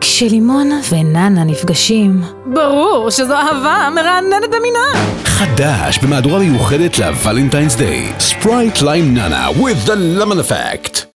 כשלימון וננה נפגשים, ברור שזו אהבה מרעננת במינה. חדש במהדורה מיוחדת לוולנטיינס דיי. ספרייט ליים נאנה with the lemon effect.